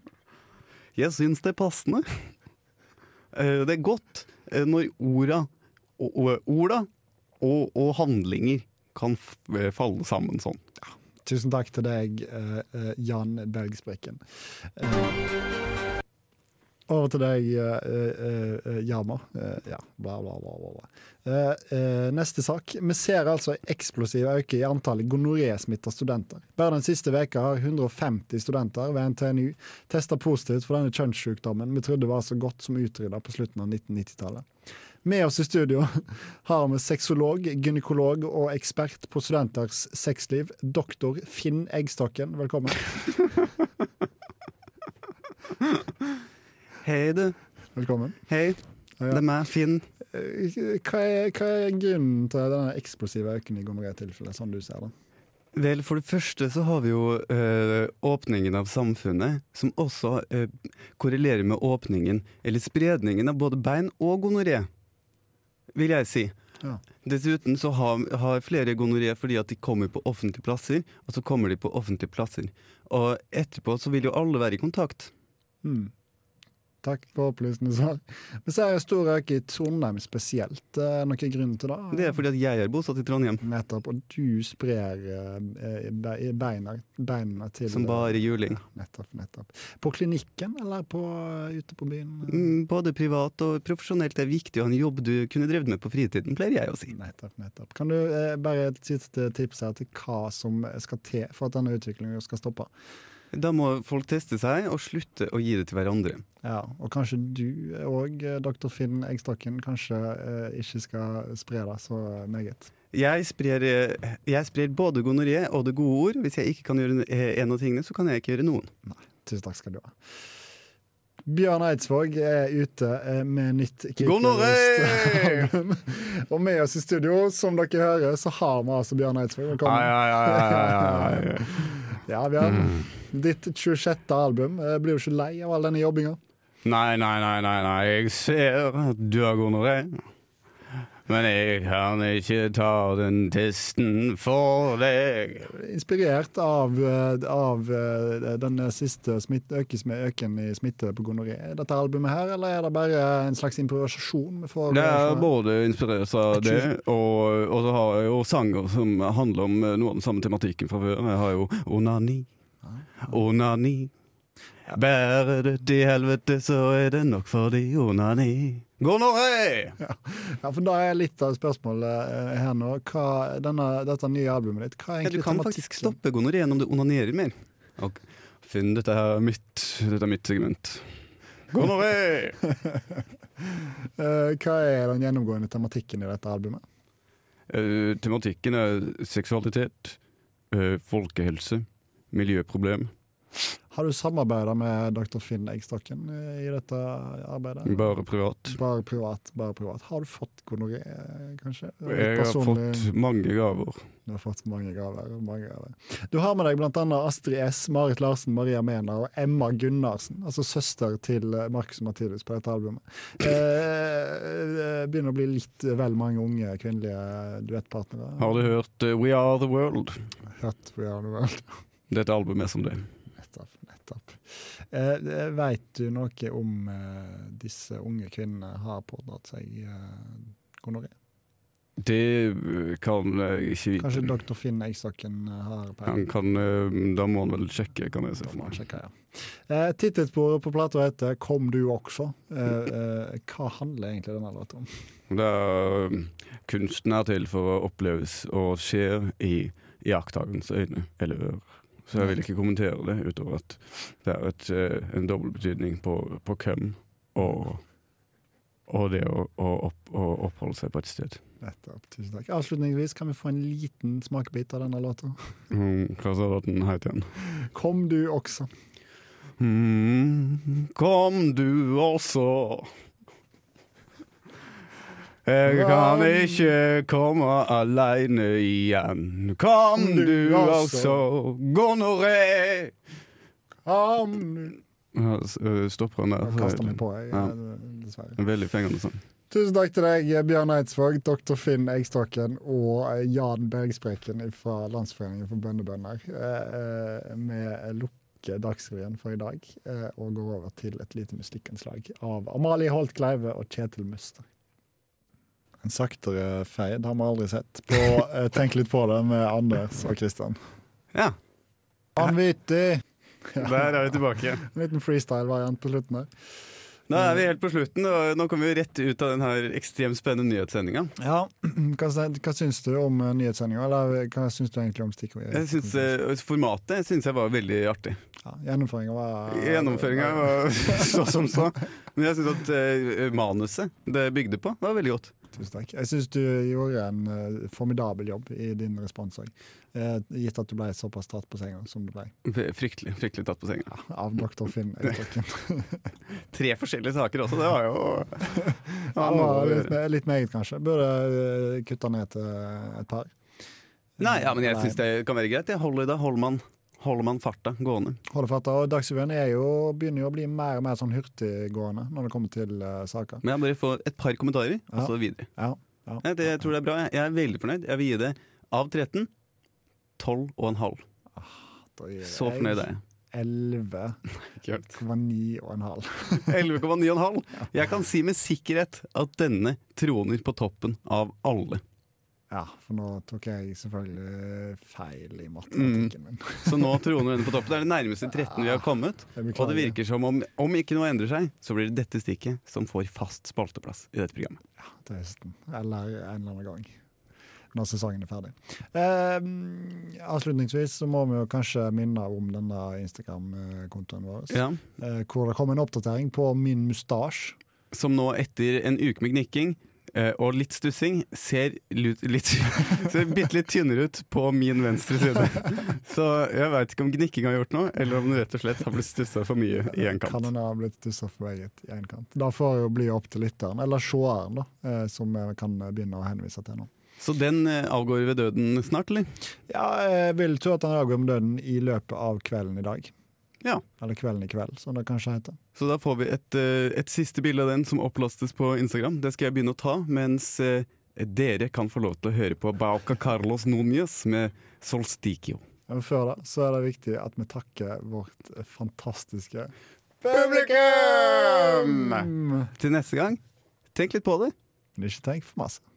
Jeg syns det er passende. Eh, Det er godt eh, når orda og, og, orda og, og handlinger kan f- eh, falle sammen sånn. Tusen takk til deg, eh, eh, Jan Bergsprekken. Eh, Over til deg, eh, eh, eh, Jarmo. Eh, Ja, bla, bla, bla. bla, bla. Eh, eh, Neste sak. Vi ser altså en eksplosiv økning i antallet gonoré-smitta studenter. Bare den siste veka har 150 studenter ved NTNU testa positivt for denne kjønnssykdommen vi trodde var så godt som utrydda på slutten av 1990-tallet. Med oss i studio [LAUGHS] har vi sexolog, gynekolog og ekspert på studenters sexliv, doktor Finn Eggstokken. Velkommen. Hei, du. Velkommen. Hei. Det er meg, Finn. Eh, Hva er, hva er grunnen til denne eksplosive økningen i gonoré-tilfellet, sånn du ser det? Vel, for det første så har vi jo eh, åpningen av samfunnet, som også eh, korrelerer med åpningen, eller spredningen av både bein og gonoré, vil jeg si. Ja. Dessuten så har, har flere gonoré fordi at de kommer på offentlige plasser, og så kommer de på offentlige plasser. Og etterpå så vil jo alle være i kontakt. Hmm. Takk for opplysende svar. Vi ser en stor økning i Trondheim spesielt. Er det noen grunn til det? Det er fordi at jeg er bosatt i Trondheim, Nettopp. Og du sprer eh, be- beina, beina til som bare juling. Nettopp, nettopp. På klinikken eller på, eh, ute på byen? Mm, Både privat og profesjonelt er viktig å ha en jobb du kunne drevet med på fritiden, pleier jeg å si. Nettopp, nettopp. Kan du eh, bare et siste tips her til hva som skal til for at denne utviklingen skal stoppe? Da må folk teste seg og slutte å gi det til hverandre. Ja, Og kanskje du òg, dr. Finn Eggstokken, kanskje eh, ikke skal spre det så meget. Jeg sprer, eh, jeg sprer både gonoré og det gode ord. Hvis jeg ikke kan gjøre eh, en av tingene, så kan jeg ikke gjøre noen. Tusen takk skal du ha. Bjørn Eidsvåg er ute eh, med nytt Gonoré! Kickflip-album. [LAUGHS] Og med oss i studio, som dere hører, så har vi altså Bjørn Eidsvåg. Velkommen. Ja, Bjørn. Ditt 26. album. Eh, Blir du ikke lei av all denne jobbinga? Nei, nei, nei, nei, nei, jeg ser at du har gonoré. Men jeg kan ikke ta den testen for deg. Inspirert av, eh, av eh, den siste smitt, økes med øken i smitte på gonoré. Er dette albumet her, eller er det bare en slags improvisasjon? For, eh, Det er både inspirert av det, og, og så har jeg jo sanger som Ah. handler om eh, noe av den samme tematikken fra før. Jeg har jo onani, onani, Bærer du til helvete, så er det nok for de onani. Gå nå, hei! Ja, for da er litt av spørsmålet eh, her nå. Hva, denne, dette nye albumet ditt, hva Ja, er egentlig du kan tematikken? faktisk stoppe gonoré om du onanerer mer. Og Finn, dette er mitt, dette er mitt segment. Gonoré! [LAUGHS] Eh, hva er den gjennomgående tematikken i dette albumet? Eh, tematikken er seksualitet, eh, folkehelse, miljøproblem. Har du samarbeida med dr. Finn Eggstokken eh, i dette arbeidet? Bare privat. Bare privat, bare privat. Har du fått gonoré, eh, kanskje? Jeg har Personlig- fått mange gaver. Du har fått mange gaver. Mange gaver. Du har med deg bl.a. Astrid S, Marit Larsen, Maria Mena og Emma Gunnarsen. Altså søster til eh, Marcus og Mathildes på dette albumet. Eh, det begynner å bli litt vel mange unge kvinnelige duettpartnere. Har du hørt eh, We Are The World? Hørt på Jarl World. Dette albumet er som det. [LAUGHS] Nettopp. nettopp. Eh, Veit du noe om eh, disse unge kvinnene har pådratt seg eh, gonoré? Det eh, kan jeg ikke vite. Kanskje dr. Finn Eggstokken eh, har peiling? Han kan, eh, da må han vel sjekke, kan jeg se for Må jeg meg. sjekke, ja. Eh, Tittelsporet på plata heter 'Kom du også'. Eh, eh, hva handler egentlig denne låta om? Det er, um, kunsten er til for å oppleves og skjer i iakttagerens øyne eller ører. Så jeg vil ikke kommentere det utover at det er et, eh, en dobbeltbetydning på, på hvem og, og det å, å, opp, å oppholde seg på et sted. Nettopp, tusen takk. Avslutningsvis kan vi få en liten smakebit av denne låta. Mm, Hva sa den het igjen? 'Kom du også'. Mm, kom du også. Jeg kan ikke komme aleine igjen. Kom du også, gonoré. Kom du Ja, s- øh, Stopper han der? Jeg kaster meg på, jeg, Ja. eh, dessverre. En veldig fengende sang. Tusen takk til deg, Bjørn Eidsvåg, dr. Finn Eggstokken og eh, Jan Bergspreken fra Landsforeningen for bøndebønder. Eh, eh, Vi lukker Dagsrevyen for i dag eh, og går over til et lite musikkanslag av Amalie Holt Kleive og Kjetil Muster. En saktere feid har vi aldri sett på eh, Tenk litt på det med Anders og Kristian. Ja, Vanvittig! der er vi tilbake. En liten freestyle-variant på slutten her. Nå er vi helt på slutten, og nå kommer vi rett ut av den her ekstremt spennende nyhetssendinga. Ja, [CLEARS THROAT] hva, hva syns du om eh, nyhetssendinga, eller hva syns du egentlig om stikkordet? Jeg synes, øh, Formatet syns jeg var veldig artig. Ja, Gjennomføringa var Gjennomføringa var [LAUGHS] så som så. Men jeg syns at eh, manuset det bygde på, var veldig godt. Tusen takk. Jeg syns du gjorde en eh, formidabel jobb i din respons òg. Eh, gitt at du ble såpass tatt på senga som du ble F- Fryktelig fryktelig tatt på senga. av dr. Finn Eidtåken. Tre forskjellige saker også, det var jo Ja, [LAUGHS] Ja, det var nå- litt, me- litt meget, kanskje. Burde eh, kutta ned til eh, et par. Nei, ja, men jeg Nei. syns det kan være greit. Jeg holder, da holder man, holder man farta gående. Hold fatt, og Dagsrevyen er jo- begynner jo å bli mer og mer sånn hurtiggående når det kommer til eh, saker. Men jeg bare får et par kommentarer, og så videre. Ja, ja. Nei, det, jeg tror det er bra. Jeg- Jeg er veldig fornøyd. Jeg vil gi det av 13 12,5. Da gir Så jeg fornøyd er jeg. 11,9 og en halv. 11,9,5. Jeg kan si med sikkerhet at denne troner på toppen av alle. Ja, for nå tok jeg selvfølgelig feil Mm. i matematikken min. Så nå troner denne på toppen. Det er det nærmeste 13 vi har kommet. Jeg beklager. Og det virker som om, om ikke noe endrer seg, så blir det dette stikket som får fast spalteplass i dette programmet. til høsten. Eller en eller annen gang. Når sesongen er ferdig. Eh, avslutningsvis så må vi jo kanskje minne om denne Instagram-kontoen vår. Ja. Eh, hvor det kom en oppdatering på min mustasje. Som nå, etter en uke med gnikking eh, og litt stussing, ser, lut, litt, [LAUGHS] ser bitte litt tynnere ut på min venstre side. Så jeg veit ikke om gnikking har gjort noe, eller om det rett og slett har blitt stussa for mye i en Kan kant. den ha blitt stussa for meget i en kant? Da får det jo bli opp til lytteren, eller seeren, da, eh, som jeg kan begynne å henvise til nå. Så den eh, avgår ved døden snart, eller? Ja, jeg vil tro at han avgår med døden i løpet av kvelden i dag. Ja. Eller Kvelden i kveld, som det kanskje heter. Så da får vi et, eh, et siste bilde av den som opplastes på Instagram. Det skal jeg begynne å ta, mens eh, dere kan få lov til å høre på Bauca Carlos Núñez med Solsticio. Men før det så er det viktig at vi takker vårt fantastiske Publikum! Mm. Hm, Til neste gang, tenk litt på det. Men ikke tenk for masse.